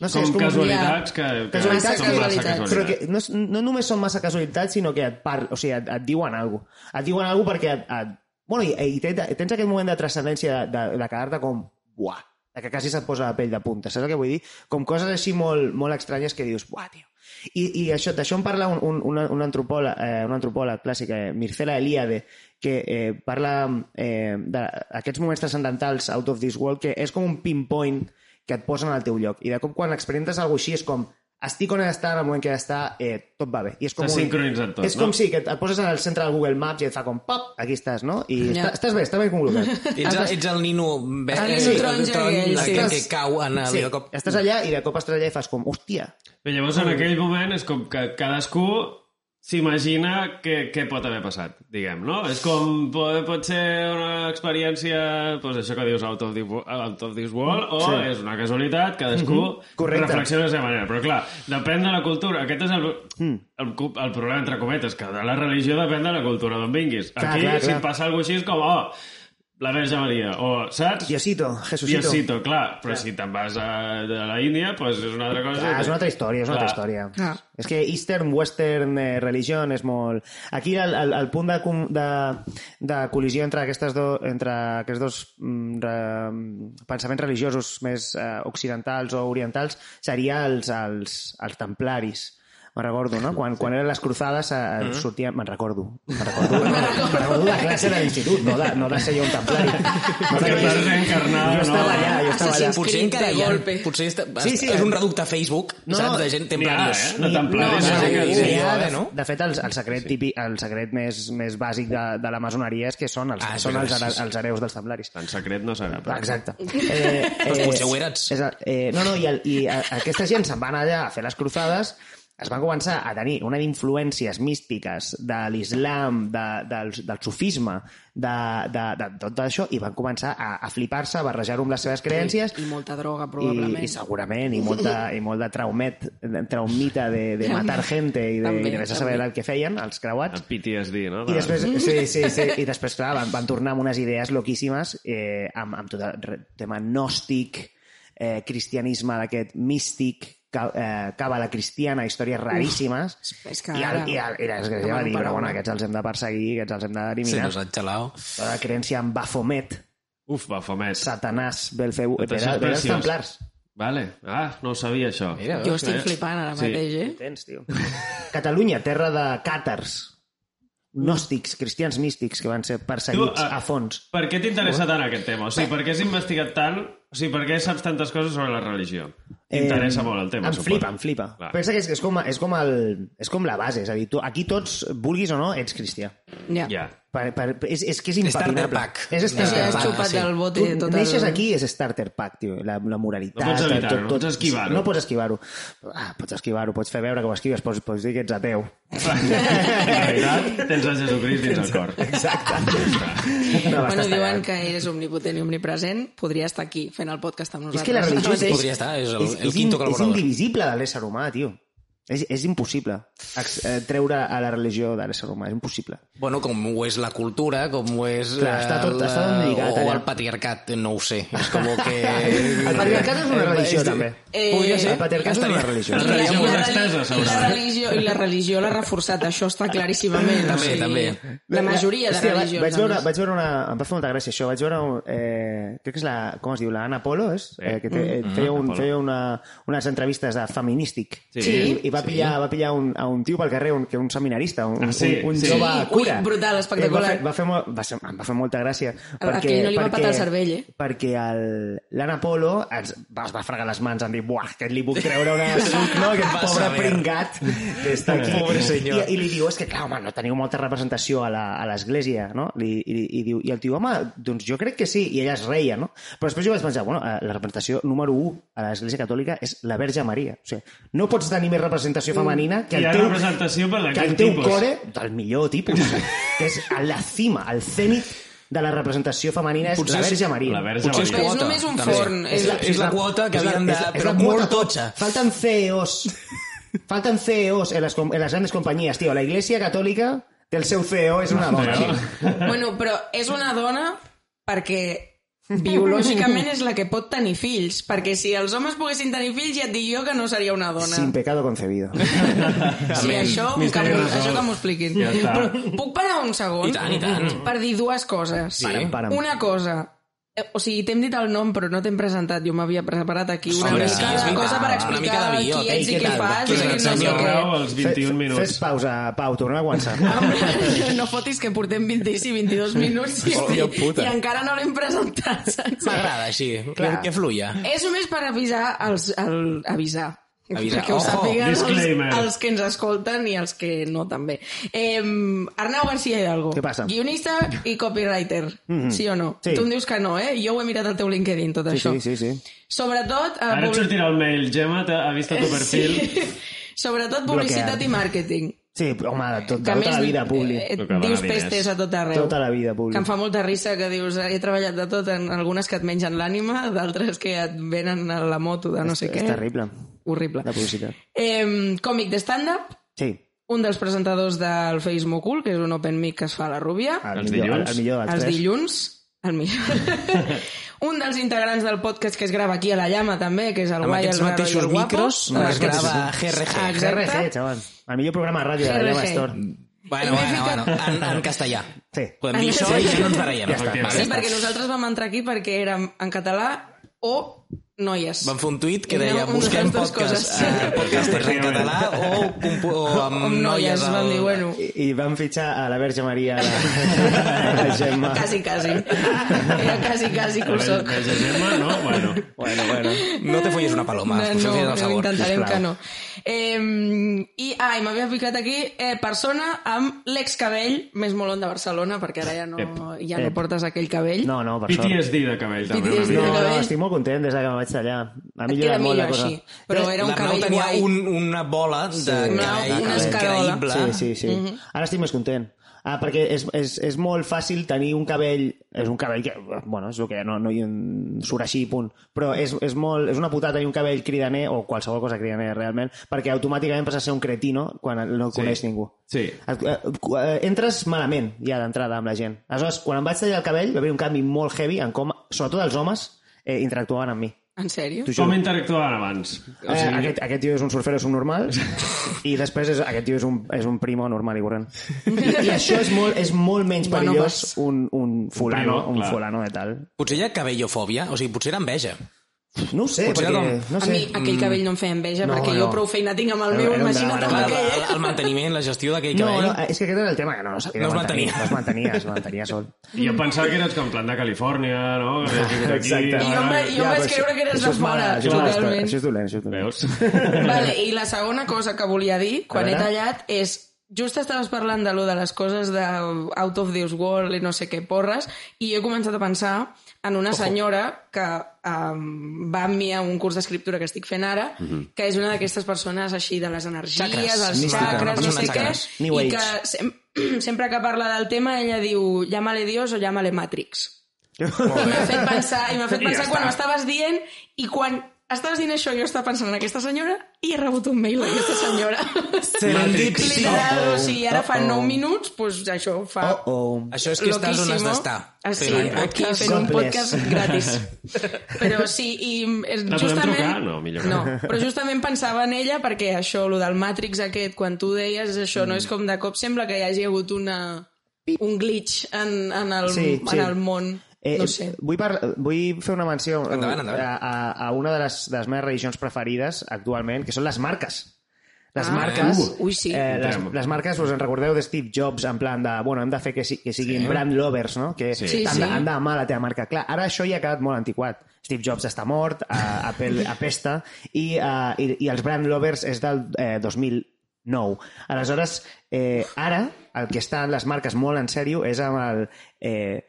B: No sé,
E: Són
B: és com...
E: casualitats que, que
B: Casualitats
E: són
B: que-
E: massa casualitats.
B: Però que no, és- no només són massa casualitats, sinó que et, par... o sigui, et, et diuen alguna cosa. Et diuen alguna cosa perquè... Et, et... Bueno, i, i tens, tens aquest moment de transcendència de, de, de quedar-te com... Buah, de que quasi se't posa la pell de punta, saps el que vull dir? Com coses així molt, molt estranyes que dius, buah, tio. I, i això, d'això en parla un, un, una, una, antropòleg, eh, una antropòleg clàssica, eh, Mircela Eliade, que eh, parla eh, d'aquests moments transcendentals out of this world, que és com un pinpoint que et posen al teu lloc. I de cop quan experimentes alguna cosa així és com estic on he d'estar, en el moment que he d'estar, eh, tot va bé. I és com
E: S'ha sincronitzat tot,
B: És com
E: no?
B: si que et, et poses en el centre del Google Maps i et fa com pop, aquí estàs, no? I
D: Ja.
B: yeah. estàs bé, estàs ben conglomerat.
C: Ets, el- ets el nino... Be,
D: El
C: eh,
D: nino taronja
C: tron-
D: aquell,
C: la
D: sí.
C: que, que cau en el...
B: Sí,
C: de cop...
B: estàs allà i de cop estàs allà i fas com, hòstia,
E: Bé, llavors en aquell moment és com que cadascú s'imagina què, què pot haver passat, diguem, no? És com, pot, pot ser una experiència, doncs això que dius, out of, the, wo- out of this world, o sí.
B: Sí. Mhm,
E: és una casualitat, cadascú mm -hmm.
B: Correcte.
E: reflexiona de la seva manera. Però clar, depèn de la cultura. Aquest és el, mm. el, cu- el problema, entre cometes, que de la religió depèn de la cultura d'on vinguis.
B: Clar,
E: Aquí,
B: clar,
E: si
B: clar.
E: et passa alguna cosa així, és com, oh, la Verge Maria, o, saps?
B: Diosito, Jesucito.
E: Diosito, clar. Però si te'n vas a, a la Índia, doncs és una altra cosa.
B: Clar, és una altra història, és una altra
E: Clar.
B: història.
D: Clar.
B: És que Eastern, Western, eh, religion és molt... Aquí el, el, el punt de, com- de, de col·lisió entre, aquestes do, entre aquests dos mm, re, pensaments religiosos més eh, occidentals o orientals seria els, els, els templaris. Me'n recordo, no? Quan, quan eren les cruzades eh, mm -hmm. sortia... Me'n recordo. Me'n recordo, no, me'n recordo de classe de l'institut, no de, no de ser jo un templari. No de,
E: Que vas reencarnar,
B: jo estava
E: no?
B: allà, jo estava allà.
D: Assassin's
C: Potser
D: Creed
C: encara
D: de
C: hi ha...
D: golpe.
C: Potser està,
B: Sí, sí,
C: és
B: eh.
C: un reducte a Facebook,
B: No,
C: saps? De gent templària.
E: N'hi ha, eh?
B: ah,
E: De templaris.
C: No, no,
E: eh?
C: no,
E: Que-
C: sí,
B: Hi
C: sí.
B: ha,
C: ja,
B: de,
C: no?
B: de fet, el, el secret, típic, el secret més, més bàsic de, de la masoneria és que són els,
C: Ah,
B: ah,
C: és
B: són els,
C: veritat,
B: ara- els hereus dels templaris.
E: En secret no serà. però-
B: Exacte. Eh,
C: Doncs potser ho eres.
B: És, el- eh, no, no, i, el, i a, aquesta gent se'n van allà a fer les cruzades, es van començar a tenir una d'influències místiques de l'islam, de, del, del sufisme, de, de, de tot això, i van començar a, a flipar-se, a barrejar-ho amb les seves creencies,
D: I molta droga,
B: i,
D: probablement.
B: i segurament, i molt de, i molt de traumet, de traumita de, de matar gent i de,
D: També,
B: i de vés a saber
D: també.
B: el que feien, els creuats.
E: El PTSD, no?
B: I després, sí, sí, sí, i després clar, van, van tornar amb unes idees loquíssimes eh, amb, amb tot el re- tema gnòstic, eh, cristianisme d'aquest místic, ca, eh, càbala cristiana, històries raríssimes.
D: és que
B: I, el,
D: ara-
B: i, el, i l'església
D: demano
B: va dir, però
D: paraula.
B: bueno, aquests els hem de perseguir, aquests els hem
C: Sí,
B: d'eliminar.
C: no s'ha xalau.
B: Sí, la creencia en Baphomet,
E: Uf, va, Fomet.
B: Satanàs, Belcebú...
E: Tot això
B: Era,
E: és
B: era els
E: preciós.
B: templars.
E: Vale. Ah, no ho sabia, això.
C: Mira,
D: Jo
C: veus,
D: estic
C: eh?
D: flipant ara
E: Sí.
D: mateix, eh?
B: Tens, tio. Catalunya, terra de càtars, gnòstics, cristians místics que van ser perseguits
E: Tu, eh, a-
B: a fons.
E: Per què t'interessa tant aquest tema? O sigui, per què has investigat tant? O sigui, per què saps tantes coses sobre la religió? T'interessa
B: Em-
E: molt el tema,
B: Eh, Em
E: suposo.
B: flipa, em flipa.
E: Clar.
B: Pensa que és, és, com, és, com el, és com la base, és a dir, tu, aquí tots, vulguis o no, ets cristià.
D: Ja.
E: Ja.
B: Per, per, és, és que és
C: Starter
B: impepinable.
C: pack.
B: És starter
D: Has
C: Ja,
B: pack.
D: xupat
C: sí.
D: del bote tota
B: Tu
D: tot
B: neixes
D: el...
B: aquí és starter pack, tio, la, la moralitat.
E: No pots
B: el-
E: evitar-ho, no pots esquivar-ho.
B: No pots esquivar-ho. Ah, pots esquivar-ho, pots fer veure que ho esquives, pots, pots dir que ets ateu.
E: En realitat, tens a Jesucrist dins el cor. Exacte.
B: No,
D: Bueno,
B: estàs
D: diuen
B: tallat.
D: que eres omnipotent i omnipresent, podria estar aquí fent el podcast amb
B: És
D: nosaltres.
B: que la religió és...
C: doncs, Podria estar, és el- el
B: és,
C: quinto
B: in- és
C: col·laborador.
B: indivisible de l'ésser humà, tio. És, és impossible ex- eh, treure a la religió de l'ésser humà, és impossible.
C: Bueno, com ho és la cultura, com ho és...
B: Clar,
C: eh,
B: està tot-
C: la-
B: està tot lligat,
C: O
B: allà.
C: el patriarcat, no ho sé. És com que...
B: El patriarcat és una religió, també.
D: Eh,
C: Podria ser.
B: El patriarcat és una religió.
E: La
D: I la-
E: religió
D: i
E: molt
D: la-
E: estesa,
D: i la
E: segurament.
D: religió, I la religió l'ha reforçat, això està claríssimament.
C: També,
D: o sigui,
C: també.
D: La majoria de
B: Hòstia, va-
D: religions. doncs.
B: Vaig veure,
D: almenys.
B: vaig veure una... Em va fer molta gràcia això. Vaig veure... un- Eh, crec que és la... Com es diu? La Ana Polo, és? Eh, que
C: Mm.
B: te, eh, feia, un,
E: Polo.
B: feia una, unes entrevistes de Feministic.
E: Sí.
B: I, i va pillar, va pillar un, a un tio pel carrer, un, que un seminarista, un,
E: Ah, sí,
B: un, un
E: sí.
B: jove
D: Ui,
B: cura.
D: brutal, espectacular.
B: Eh, va, fer, va, fer, mo- va, ser, em va fer molta gràcia.
D: aquell no li va petar el cervell, eh?
B: Perquè el- l'Anna Polo ens, va, es va fregar les mans, em dir, buah, que li puc treure una de suc, no? Aquest
C: Vas
B: pobre
C: a ver.
B: pringat que està aquí.
C: Pobre senyor.
B: I, I li diu, és que clar, home, no teniu molta representació a la- a l'església, no? I, i, i, diu, I el tio, home, doncs jo crec que sí, i ella es reia, no? Però després jo vaig pensar, bueno, eh, la representació número 1 a l'església catòlica és la Verge Maria. O sigui, no pots tenir més representació femenina que
E: Hi
B: el
E: ha
B: teu,
E: representació per de
B: que el
E: quin
B: teu
E: tipus?
B: core del millor tipus, que és a la cima, al cènit de la representació femenina és
C: Potser
B: la
C: és
B: Verge Maria.
E: La Verge
C: Potser és
E: Maria.
D: Però és
C: quota.
D: només un
C: també.
D: forn,
C: És la, és la quota que
B: és la-
C: havien de...
B: és la- és la
C: Però molt
B: quota.
C: totxa.
B: Faltan CEOs. Faltan CEOs E en las, com- en las grandes compañías, tío. La Iglesia Católica del seu CEO és una dona, tio.
D: Bueno, però és una dona perquè biològicament és la que pot tenir fills, perquè si els homes poguessin tenir fills ja et dic jo que no seria una dona.
B: Sin pecado concebido.
D: Sí, això, que,
E: Misteri
D: m'ho-
E: resolt.
D: això que m'ho expliquin.
E: Ja està.
D: Però puc parar un segon?
C: I tant, i tant.
D: Per dir dues coses.
C: Sí. Para'm,
B: para'm.
D: Una cosa, eh, o sigui, t'hem dit el nom, però no t'hem presentat. Jo m'havia preparat aquí una
C: Home,
D: mica
C: sí,
D: de
C: és veritat.
D: cosa per
C: Una
D: explicar
C: mica de bio,
D: qui ets
B: ei,
D: i
B: què
D: què
B: tal?
D: fas.
C: Què
D: i
C: tal?
D: no sé
C: Sembla
D: què.
E: Rau als 21
B: Fe- Fes
E: minuts.
B: pausa, Pau, tornem a començar.
D: Home, no fotis que portem 26 i 22 minuts i,
C: Hòstia puta.
D: i encara no l'hem presentat. saps?
C: M'agrada així, Clar.
B: Clar.
C: que fluia.
D: És només per avisar els... El, avisar.
C: Avisar.
D: Que ho
C: Ojo,
D: sàpiguen els,
E: disclaimer.
D: els que ens escolten i els que no també. Eh, Arnau García Hidalgo.
B: Què passa? Mhm.
D: Guionista i copywriter. Mm -hmm. Sí o no?
B: Sí.
D: Tu em dius que no, eh? Jo ho he mirat al teu LinkedIn, tot
B: Sí,
D: això.
B: sí, sí, sí.
D: Sobretot... eh,
E: Ara
D: publi-
E: et sortirà el mail. Gemma t'ha- ha vist el teu perfil.
D: Sí. Sobretot publicitat
B: Bloqueat.
D: i màrqueting.
B: Sí, home, tot, de tota la vida, Publi.
D: eh,
E: El que val
D: dius
E: diners.
D: pestes a tot arreu.
B: Tota la vida,
D: Que
B: Publi.
D: em fa molta risa que dius, "Eh, he treballat de tot, en algunes que et mengen l'ànima, d'altres que et venen a la moto de no sé
B: És
D: què.
B: terrible,
D: Horrible.
B: la publicitat.
D: Eh, còmic de stand-up,
B: Sí,
D: un dels presentadors del Facebook Cool, que és un open mic que es fa a la Rúbia,
B: el,
E: Els
B: millor, el,
E: dilluns.
B: millor dels
D: els
B: Ah, tres.
D: dilluns, el millor. un dels integrants del podcast que es grava aquí a la Llama, també, que és el
C: Amb
D: guai, el
C: aquests
D: raro i
C: mateixos
D: el guapo.
C: micros
D: Ah,
C: es grava GRG.
D: Exacte.
B: GRG, xaval. El millor programa de ràdio de la Llama
D: GRG.
B: Store.
C: Bueno, bueno, bueno, en, en castellà.
B: Sí.
C: Podem dir això i ja no ens barallem.
B: Ja està.
D: Sí, perquè nosaltres vam entrar aquí perquè érem en català o noies.
C: Van fer un tuit que
D: Era
C: deia
D: una de les
C: busquem
D: dues
C: podcast,
D: coses.
C: eh, podcasters en català o, compo- o amb,
D: Amb noies,
C: al-
D: van dir, bueno,
B: I, i van fitxar a la Verge Maria a la, a la Gemma.
D: quasi, quasi. Era quasi, quasi que ho
E: Veja,
D: soc.
E: veja Gemma, no? Bueno.
B: Bueno, bueno.
C: No te folles una paloma,
D: No,
C: això sí és
D: no,
C: el sabor,
D: intentarem
C: sisplau.
D: que no. Eh, I, ah, i m'havia picat aquí, eh, persona amb l'excabell més molon de Barcelona, perquè ara ja no,
E: Ep.
D: ja no
B: Ep.
D: portes aquell cabell.
B: No, no, per sort.
E: PTSD de cabell, també.
B: No,
D: PTSD de
E: una mica.
B: no,
D: cabell.
B: estic molt content des de que me vaig tallar. Ha
D: Et queda
B: millorat molt
D: millor
B: la cosa. Eh,
D: així, però era un
C: L'Arnau
D: cabell
C: tenia
D: guai.
C: un, una bola de
D: Una-
C: cabell
D: una escarola.
C: increïble.
B: Sí, sí, sí. Mm -hmm.
D: Mhm.
B: Ara estic més content. Ah, perquè és, és, és molt fàcil tenir un cabell... És un cabell que... Bueno, és el que no, no hi un, surt així, punt. Però és, és, molt, és una putada tenir un cabell cridaner o qualsevol cosa cridaner, realment, perquè automàticament passa a ser un cretino quan no el
E: Sí.
B: sí. coneix ningú.
E: Sí.
B: Et- eh, eh, entres malament ja d'entrada amb la gent. Aleshores, quan em vaig tallar el cabell va haver un canvi molt heavy en com, sobretot els homes, eh, interactuaven amb mi.
D: En sèrio?
B: T'ho
E: Com
B: juro.
E: interactuaven abans?
B: Eh, aquest, aquest tio és un surfero subnormal i després és, aquest tio és un, és un primo normal i corrent. I, i això és molt, és molt menys
D: Bueno,
B: perillós un, un fulano,
E: primo,
B: un,
E: clar.
B: fulano de tal.
C: Potser hi ha cabellofòbia, o sigui, potser era enveja.
B: No ho sé,
C: Potser
B: perquè...
C: era com-
B: No
D: A
B: sé.
D: mi aquell cabell no em feia enveja,
B: No,
D: perquè
B: no.
D: jo prou feina tinc amb el
B: Era-
D: meu,
B: era un
D: imagina't
B: drama,
D: amb
C: Clar,
B: era
D: aquell.
C: el, el manteniment, la gestió d'aquell
B: No,
C: cabell...
B: no,
D: eh,
B: és que aquest era el tema que no, no sabia
C: No es
B: mantenir.
C: mantenia.
B: No es mantenia, es mantenia sol.
E: Jo pensava que eres com plan de Califòrnia, no? Que vés fins aquí,
B: Exacte.
D: I jo em
E: ara-
D: vaig- jo em
B: però
D: vaig
B: això-
D: creure que eres
B: això és
D: de fora,
B: mala, Això, és-
D: totalment.
B: això és dolent, això és dolent.
E: Veus?
D: Vale, I la segona cosa que volia dir, quan he
B: veure.
D: tallat, és... Just estaves parlant de lo de les coses de Out of This World i no sé què porres, i he començat a pensar en una senyora que um, va amb mi a un curs d'escriptura que estic fent ara, que és una d'aquestes persones així de les energies,
C: Chakras,
D: els
B: Mhm. mística, una
D: xacres, no
B: persona
D: sé què,
C: chakras.
B: New
D: i
B: Age.
D: que sem sempre que parla del tema ella diu llámale Dios o llámale Matrix. I m'ha fet pensar, i m'ha fet
E: I
D: pensar
E: ja
D: quan
C: Ah.
E: està.
D: m'estaves dient i quan estaves dient això jo estava pensant en aquesta senyora i he rebut un mail d'aquesta
C: Ah.
D: senyora.
C: Serendipity.
D: Literal,
B: Oh, oh.
D: o sigui, ara fa
B: Oh, oh.
D: 9 minuts, doncs això fa...
B: Oh, oh.
C: Això és que estàs on has
D: loquíssimo.
C: d'estar.
D: Ah, sí,
C: Fent un
D: aquí
C: podcast.
D: fent un
B: God bless.
D: podcast gratis. Però sí, i és
E: La podem
D: justament...
E: trucar? No, millor no.
D: no. però justament pensava en ella perquè això, lo del Matrix aquest, quan tu deies és
C: Mm.
D: això, no és com de cop sembla que hi hagi hagut una... un glitch en, en, el,
B: Sí, sí.
D: en el món.
B: Eh,
D: no sé.
B: Vull, parla, vull fer una menció eh,
C: Endavant, endavant.
B: A, a, a una de les, de les meves religions preferides actualment, que són les marques. Les
D: Ah,
B: marques,
D: uh, ui, sí.
B: eh, les,
E: Entrem.
B: les marques, us en recordeu de Steve Jobs, en plan de, bueno, hem de fer que, si, que siguin sí. brand lovers, no? Que
D: Sí,
B: han,
D: sí.
B: de- han d'anar a la teva marca. Clar, ara això ja ha quedat molt antiquat. Steve Jobs està mort, eh, Apple apesta, i, eh, i, i els brand lovers és del eh, 2009. Aleshores, eh, ara el que estan les marques molt en sèrio és amb el eh,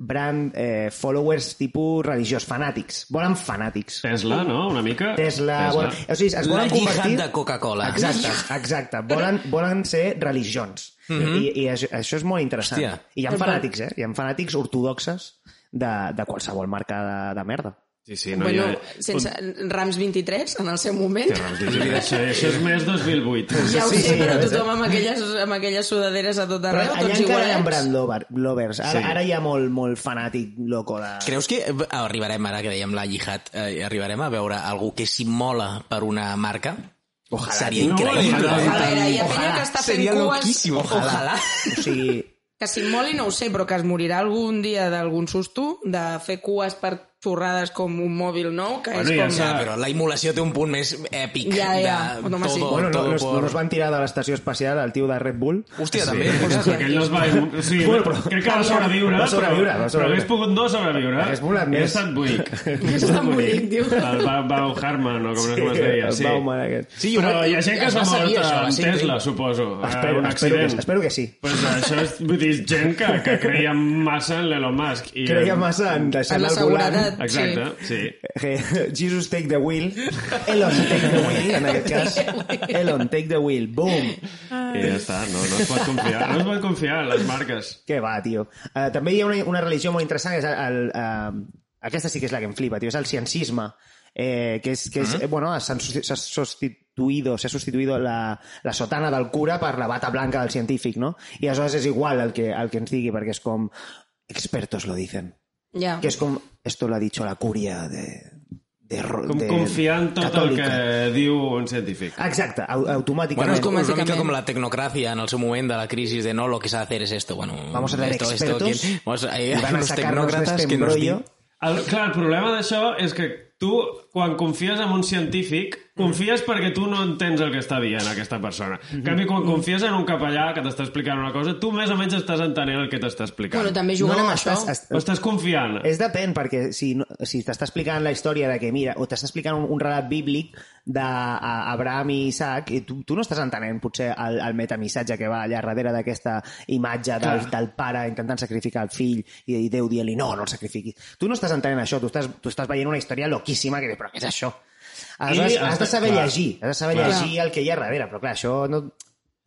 B: brand eh, followers tipus religiós, fanàtics. Volen fanàtics.
E: Tesla, no? Una mica?
B: Tesla... Volen, o sigui, es
C: La
B: volen
C: lliga
B: convertir...
C: de Coca-Cola.
B: Exacte, exacte. Volen, volen ser religions.
D: Mhm.
B: I, I això, això és molt interessant.
C: Hòstia.
B: I hi ha fanàtics, eh? Hi ha fanàtics ortodoxes de, de qualsevol marca de, de merda.
E: Sí, sí,
D: No,
E: no
D: bueno,
E: hi ha...
D: sense Rams 23, en el seu moment.
E: Hòstia, Rams, dic, això, això és més 2008.
D: Ja ho
B: Sí,
D: sé,
B: sí,
D: però
B: ja ho
D: tothom amb aquelles, amb aquelles sudaderes a tot
B: Però
D: arreu,
B: allà
D: tots
B: encara hi ha
D: igualets.
B: brand lover, lovers. Ara,
E: Sí.
B: sí. ara hi ha molt, molt fanàtic loco de...
C: Creus que eh, arribarem, ara que dèiem la llihat, eh, arribarem a veure algú que s'immola per una marca? Ojalà. Seria
E: tio.
C: increïble.
E: No,
D: A veure, hi ha penya
B: Ojalà.
D: que està fent
C: Seria
D: cues...
C: loquíssim. Ojalà.
B: O sigui,
D: Que s'immoli, no ho sé, però que es morirà algun dia d'algun susto, de fer cues per torrades com un mòbil nou, que
E: Bueno,
D: és
E: ja
D: com...
E: s'ha-
C: Ja, però la immolació té un punt més èpic.
D: Ja, ja.
C: De
D: No, home, sí.
C: todo,
B: bueno, no,
C: todo
B: no, es-
C: por...
B: no es van tirar de l'estació espacial al tio de Red Bull?
C: Hòstia, també.
E: Perquè Aquell no es va... O sigui,
B: Bueno, però-
E: crec que va sobreviure,
B: Va sobreviure,
E: però,
B: va sobreviure.
E: però hagués pogut no sobreviure.
B: Hagués volat
E: I
B: més.
E: ha estat buic.
D: És tan bonic, tio.
E: El Bau, Bau Harman, o com, sí, com es deia.
B: El
E: Sí.
B: Bauman aquest.
C: Sí,
E: però
C: jo-
E: hi ha gent que
C: es va
E: s'ha
C: seguir,
E: mort
C: això, va
E: amb
C: ser
E: Tesla,
C: increïble.
E: suposo. a
B: Espero,
E: Ah,
B: espero,
E: un
B: que,
E: accident.
B: espero que sí.
E: Pues això és, vull dir, gent que, que creia massa en l'Elon Musk. I
B: Creia massa en
D: En
B: deixar-la
D: la
B: al volant.
D: seguretat.
E: Exacte, sí.
B: Eh, Jesus take the wheel. Elon take the wheel, en aquest cas. Elon take the wheel. Boom.
E: I ja està, no, no es pot confiar. No es pot confiar en les marques.
B: Què va, tio? Uh, també hi ha una, una religió molt interessant, és el, el, uh, aquesta sí que és la que em flipa, tio, és el ciencisme, eh, que és, que és, eh, bueno, s'han sus- s'ha substituïdo, s'ha substituïdo la, la sotana del cura per la bata blanca del científic, no? I aleshores és igual el que, el que ens digui, perquè és com expertos lo dicen.
D: Ja.
B: Que és com, esto lo ha dicho la curia de... de, ro-
E: Com
B: de
E: confiar en tot
B: católica.
E: el que diu un científic.
B: Exacte, au-
C: Bueno,
B: automàticament.
C: es como, es una mica
D: Automáticamente.
C: como la tecnocracia en el su momento de la crisis de no, lo que se hacer es esto. Bueno,
B: Vamos a traer
C: esto,
B: expertos
C: ¿quién? vamos a, hay
B: y van a
C: unos
B: sacarnos de
C: tecnócratas
B: este
C: que nos
B: embrollo.
C: di-
E: El, clar, el problema d'això és que tu, quan confies en un científic, confies perquè tu no entens el que està dient aquesta persona.
B: Mhm.
E: En canvi, quan confies en un capellà que t'està explicant una cosa, tu més o menys estàs entenent el que t'està explicant.
D: Bueno, també juguen amb això.
B: estàs,
E: Ho estàs confiant.
B: És depèn, perquè si, no- si t'està explicant la història de que, mira, o t'està explicant un, un relat bíblic d'Abraham i Isaac, i tu, tu no estàs entenent potser el, el metamissatge que va allà darrere d'aquesta imatge del, del pare intentant sacrificar el fill i, i Déu dient-li, no, no el sacrifiquis. Tu no estàs entenent això, tu estàs, tu estàs veient una història loquíssima que dius, però què és això? Aleshores,
E: I-
B: has de saber
E: clar.
B: llegir, has de saber
D: Clar.
B: llegir el que hi ha darrere, però clar, això no,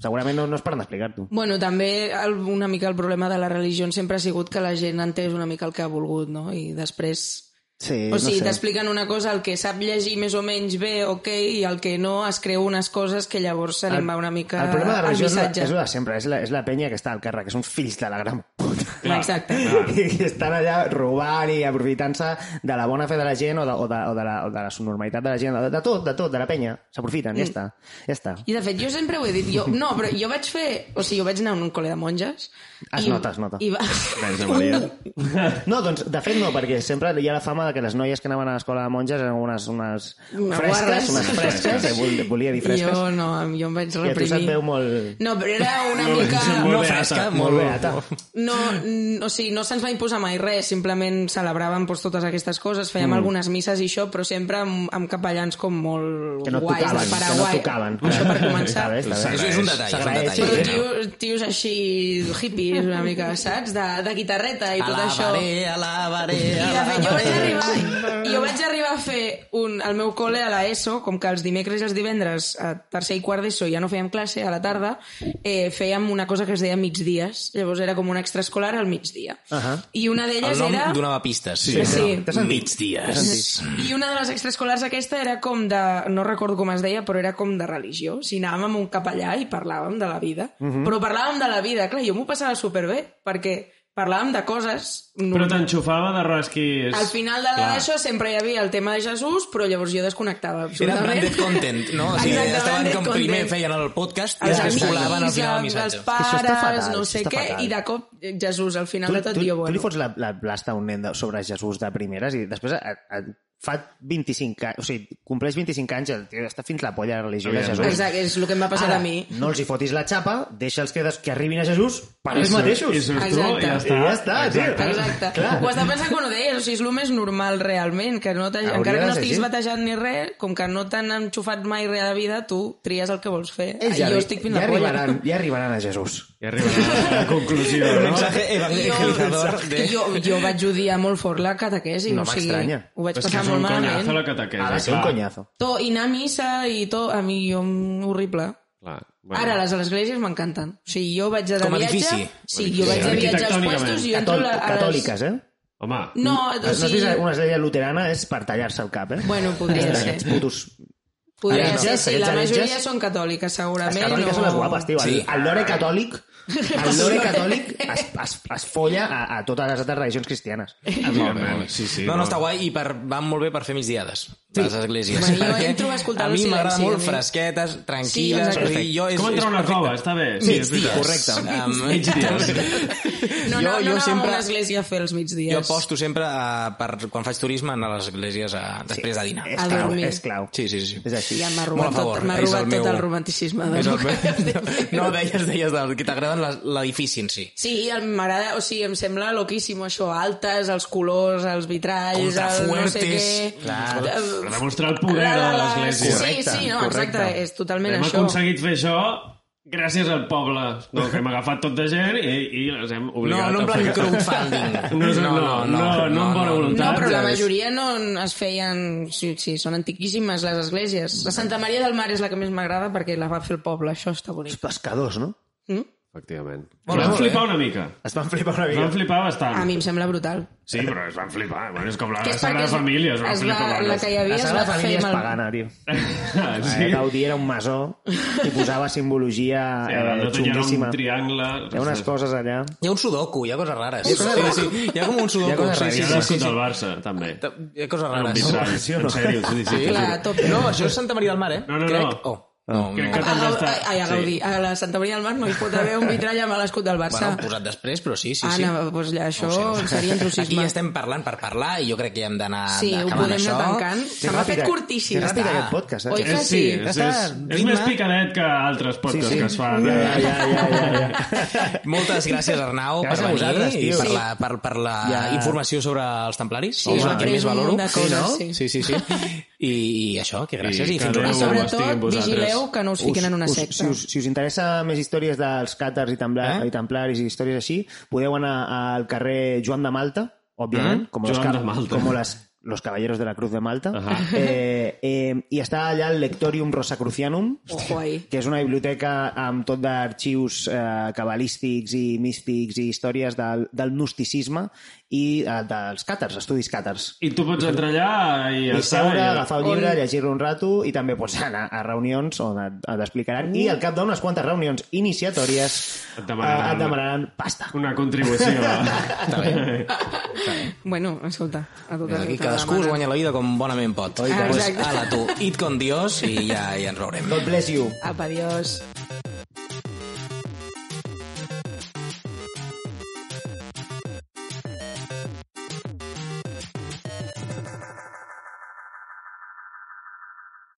B: segurament no, no és per d'explicar-t'ho.
D: Bueno, també el, una mica el problema de la religió sempre ha sigut que la gent ha entès una mica el que ha volgut, no? I després...
B: Sí,
D: O sigui, t'expliquen una cosa, el que sap llegir més o menys bé, ok, i el que no es creu unes coses que llavors se
B: El-
D: n'en va una mica
B: El problema de la
D: al
B: religió és, la,
D: missatge.
B: és la de sempre, és la, és la penya que està al carrer, que són fills de la Ah. gran puta.
D: Clar, Exacte.
B: I que estan allà robant i aprofitant-se de la bona fe de la gent o de, o de, o de, la, o de la subnormalitat de la gent, de, de tot, de tot, de la penya. S'aprofiten,
D: Mm.
B: ja està. Ja està.
D: I de fet, jo sempre ho he dit, jo, no, però jo vaig fer... O sigui, jo vaig anar a un col·le de monges...
B: Es
D: i-
B: nota, es nota.
D: I va...
E: Verge Maria.
B: No, doncs, de fet no, perquè sempre hi ha la fama de que les noies que anaven a l'escola de monges eren unes, unes
D: Unes
B: fresques,
D: guarres.
B: unes fresques, eh, vol- volia dir fresques.
D: Jo no, jo em vaig
B: I a tu se't
D: reprimir.
B: veu molt...
D: No, però era una mica...
C: No
E: beata.
C: fresca,
B: Molt
C: molt,
B: beata.
D: No, n- o sigui, no se'ns va imposar mai res, simplement celebràvem doncs, totes aquestes coses, fèiem mm. algunes misses i això, però sempre amb, amb capellans com molt
B: Que no et
D: guais
B: tocaven,
D: de
B: que no
D: Paraguai.
B: et tocaven.
D: Això per
B: Està
D: començar.
B: bé, està bé.
C: És, és un detall, és un
B: S'agraeix.
C: detall.
B: Sí,
D: Però tios, tios així hippies una mica, saps? De, de guitarreta i tot això.
C: Alabaré, alabaré,
D: I de fet, jo vaig
C: alabaré.
D: arribar, jo vaig arribar a fer un, al meu col·le a l'ESO, com que els dimecres i els divendres, a tercer i quart d'ESO, ja no fèiem classe, a la tarda, eh, fèiem una cosa que es deia migdies. Llavors era com un extraescolar al migdia.
B: Ahà.
D: I una d'elles
C: El nom
D: era...
C: donava pistes.
D: Sí, sí.
B: T'has sentit?
C: Migdies.
B: T'has sentit?
D: I una de les extraescolars aquesta era com de... No recordo com es deia, però era com de religió. O sigui, anàvem amb un capellà i parlàvem de la vida.
B: Mhm.
D: Però parlàvem de la vida. Clar, jo m'ho passava superbé, perquè parlàvem de coses...
E: Però t'enxufava de rasquis...
D: Al final de la d'això sempre hi havia el tema de Jesús, però llavors jo desconnectava
C: Era
D: absolutament.
C: branded content, no? O sigui,
D: Exacte,
C: estaven
D: branded
C: com primer
D: content.
C: feien el podcast i
D: Els
C: després volaven al
D: amics,
C: final
D: els,
C: el
D: els
B: Això
C: missatge.
B: està
D: pares,
B: fatal,
D: no
B: això
D: sé
B: està
D: què,
B: fatal.
D: i de cop eh, Jesús, al final de tot,
B: tu,
D: jo,
B: tu li
D: bueno...
B: fots la, la blasta a un nen de, sobre Jesús de primeres i després a, a, fa 25 anys, o sigui, compleix 25 anys, el tio està fins la polla de la religió de Jesús.
D: Exacte, és el que em va passar
B: Ara,
D: a mi.
B: no els hi fotis la xapa, deixa'ls que, des, que arribin a Jesús per ells
E: I sur-
B: mateixos.
E: I surts tu
D: Exacte.
E: i ja
B: I
E: està.
B: ja està, tio.
D: Exacte.
B: Clar.
D: Ho has de pensar quan ho deies, o sigui, és el més normal realment, que no t'hagi-
B: Hauria
D: encara que
B: de
D: no
B: ser
D: estiguis
B: així.
D: batejat ni res, com que no t'han enxufat mai res de vida, tu tries el que vols fer.
B: Ells ja,
D: jo
B: arri-
D: estic fins
B: ja,
D: la polla.
B: arribaran, ja arribaran a Jesús.
E: I arriba a la conclusió,
C: El
E: no?
C: mensaje evangelizador de...
D: Jo, jo vaig odiar molt fort la catequesi,
B: No
D: o sigui,
B: m'estranya.
D: ho vaig
E: És que
D: passar
E: és
D: molt
E: un conyazo
D: malament.
E: la catequesa,
B: Ha de ser un
E: clar.
B: conyazo.
D: Tot, i anar a missa i tot, a mi jo, mm, horrible.
E: Clar.
D: Bueno. Ara, les, les esglésies m'encanten. O sigui, jo vaig de,
C: Com a
D: viatge...
C: edifici.
D: Sí, jo vaig de viatge als
E: Arquitectònicament.
D: puestos i jo entro
B: Catòl
D: a les...
B: catòliques, eh?
E: Home,
D: No,
B: No
D: o
B: sé si
D: sigui...
B: una església luterana és per tallar-se el cap, eh?
D: Bueno, podria ser.
B: Aquests putos...
D: Podria
B: Aquests
D: ser,
B: heretges,
D: sí. La
B: aquests heretges-
D: majoria són catòliques, segurament.
B: Les catòliques
D: no...
B: són les guapes, tio. Sí.
C: Sí.
B: El lore catòlic, el lore catòlic es, es, es folla a, a totes les altres religions cristianes.
E: evidentment, sí, sí.
C: No, no, està guai i per, van molt bé per fer migdiades, sí. les esglésies.
D: Bueno, jo
C: perquè
D: entro a escoltar
C: a
D: el
C: mi m'agrada
D: silenci, a
C: molt
D: mi.
C: fresquetes,
D: Sí,
C: tranquil·les.
D: exacte.
C: Sí, jo és,
E: Com entrar a una
C: és
E: cova, està bé. Sí, és
C: migdies.
E: veritat.
C: Correcte. Amb-
D: No,
C: Jo-
D: no,
C: jo
D: no, no,
C: sempre-
D: a una església a fer els migdies.
C: Jo aposto sempre a, per, quan faig turisme anar a les esglésies a, després de dinar.
B: És
D: A
B: clau,
D: dormir.
B: és clau.
C: Sí, sí, sí.
B: És així.
D: Ja m'ha
C: Molt a
D: robat,
C: favor,
D: tot, m'ha
C: és el
D: robat tot
C: meu-
D: el romanticisme. De
C: És el
D: meu...
C: No, deies, deies del, que t'agraden les- l'edifici en si.
D: Sí, el- m'agrada, o sigui, em sembla loquíssim això, altes, els colors, els vitralls, el no sé
C: Contrafuertes.
D: què...
C: Clar.
D: Eh,
E: Per demostrar el poder de l'església.
D: Sí, sí, no,
B: Correcte,
D: exacte, és totalment
E: Hem
D: això.
E: aconseguit fer això gràcies al poble, no, que hem agafat tot de gent i, i les hem
C: No,
E: obligat
C: no en
E: a fer...
C: plan crowdfunding.
E: No, no, no, no, no amb bona voluntat.
D: No, però la
E: Ja ves.
D: majoria no en- es feien... Sí, sí, són antiquíssimes les esglésies. La Santa Maria del Mar és la que més m'agrada perquè la va fer el poble, això està
B: Els
D: bonic.
B: pescadors, no?
D: Mm?
E: Efectivament.
C: Molt
E: es van
C: bé.
E: flipar una mica.
B: Es van flipar una
E: Es van
B: mica.
E: flipar bastant.
D: A mi em sembla brutal.
E: Sí, però es van flipar. Bueno, és com la
D: Que és
E: Sagrada
D: perquè es-
E: Família, es van
D: es
E: flipar.
D: va,
E: vaja.
D: la que hi havia
B: La
D: es
B: Sagrada
D: va fer
B: Família és
D: mal.
C: eh?
B: pagana, tio.
E: Ah,
B: Sí.
E: sí.
B: Gaudí era un masó i posava simbologia
E: Sí, a
B: eh,
E: dalt tot hi ha
B: xunguíssima.
E: un triangle...
B: Hi ha unes coses allà.
C: Hi ha un sudoku, hi ha coses rares.
B: Hi ha coses rares.
C: Sí, sí, hi ha com un
B: Hi ha
C: sudoku.
B: coses
C: Sí,
E: Sí,
C: sí,
E: sí,
C: sí,
E: sí,
C: sí, sí.
E: del Barça, també.
C: Hi ha coses
E: Un
C: rares.
E: vitrall, en sèrio, sí, sí.
D: Clar, a tope.
C: No, això és Santa Maria del Mar, eh?
E: No, no,
C: Crec.
E: no.
C: Oh. No,
E: Que-
C: no.
E: que-
D: A,
E: Doncs
D: Gaudí,
E: està-
D: ai, a, Gaudí, a la Santa Maria del Mar no hi pot haver un vitrall amb l'escut del
C: Bueno,
D: Barça.
C: ho posat després, però sí, sí, sí.
D: Anna, doncs ja, això
C: ho sé.
D: seria intrusisme.
C: Aquí ja estem parlant per parlar i jo crec que ja hem d'anar
D: Sí, ho
C: acabant
D: podem
C: això.
D: anar tancant. Se m'ha fet curtíssim.
B: És ràpid
C: està.
B: aquest podcast, eh?
D: Oi que
E: És,
D: sí?
E: sí, és,
B: Ja
E: és,
B: està,
E: és
B: ritme.
E: més picadet que altres podcasts
B: sí.
E: que es fan.
B: Ja,
E: eh?
B: ja, ja, ja, ja.
C: Moltes gràcies, Arnau,
B: Gràcies
C: per
B: a
C: venir
B: vosaltres,
C: i
B: tio.
C: per
B: Sí.
C: la, per, per la ja.
B: Ja.
C: informació sobre els templaris.
D: Sí,
C: és
D: hem
C: la que
D: après
C: més
D: un
C: valoro.
D: munt de coses,
C: sí,
D: sí.
C: sí. sí, sí. I, I això, que gràcies
E: I
C: i,
E: que
C: fins
E: Déu
C: una
D: Però
E: ho
C: segona.
E: estigui amb
D: sobretot,
E: vosaltres.
D: vigileu que no us fiquen en una
B: us,
D: secta.
B: si, us, si us interessa més històries dels càtars i, templar,
C: Eh?
B: i templaris i històries així, podeu anar al carrer Joan de Malta, òbviament,
E: Mm?
B: com,
E: Joan
B: los, ca-
E: de Malta.
B: com les, los caballeros de la Cruz de Malta,
E: Ahà.
B: eh, eh, i està allà el Lectorium Rosacrucianum,
D: Ojo ahí.
B: que és una biblioteca amb tot d'arxius eh, cabalístics i místics i històries del, del gnosticisme i eh, dels càtars, estudis càtars.
E: I tu pots entrar allà i, ja
B: I
E: està,
B: seure,
E: i-
B: agafar un llibre, llegir-lo un rato i també pots anar a reunions on et, et explicaran i al cap d'unes quantes reunions iniciatòries eh,
E: Et
B: et
E: demanaran-
B: demanaran pasta.
E: una contribució.
C: Està bé.
D: Bueno, escolta, a tot
C: Aquí cadascú es guanya la vida com bonament pot.
D: Oi,
C: Doncs,
D: exacte.
C: ala, tu, it con Dios i ja, ja ens veurem.
B: God bless you.
D: Apa, adiós.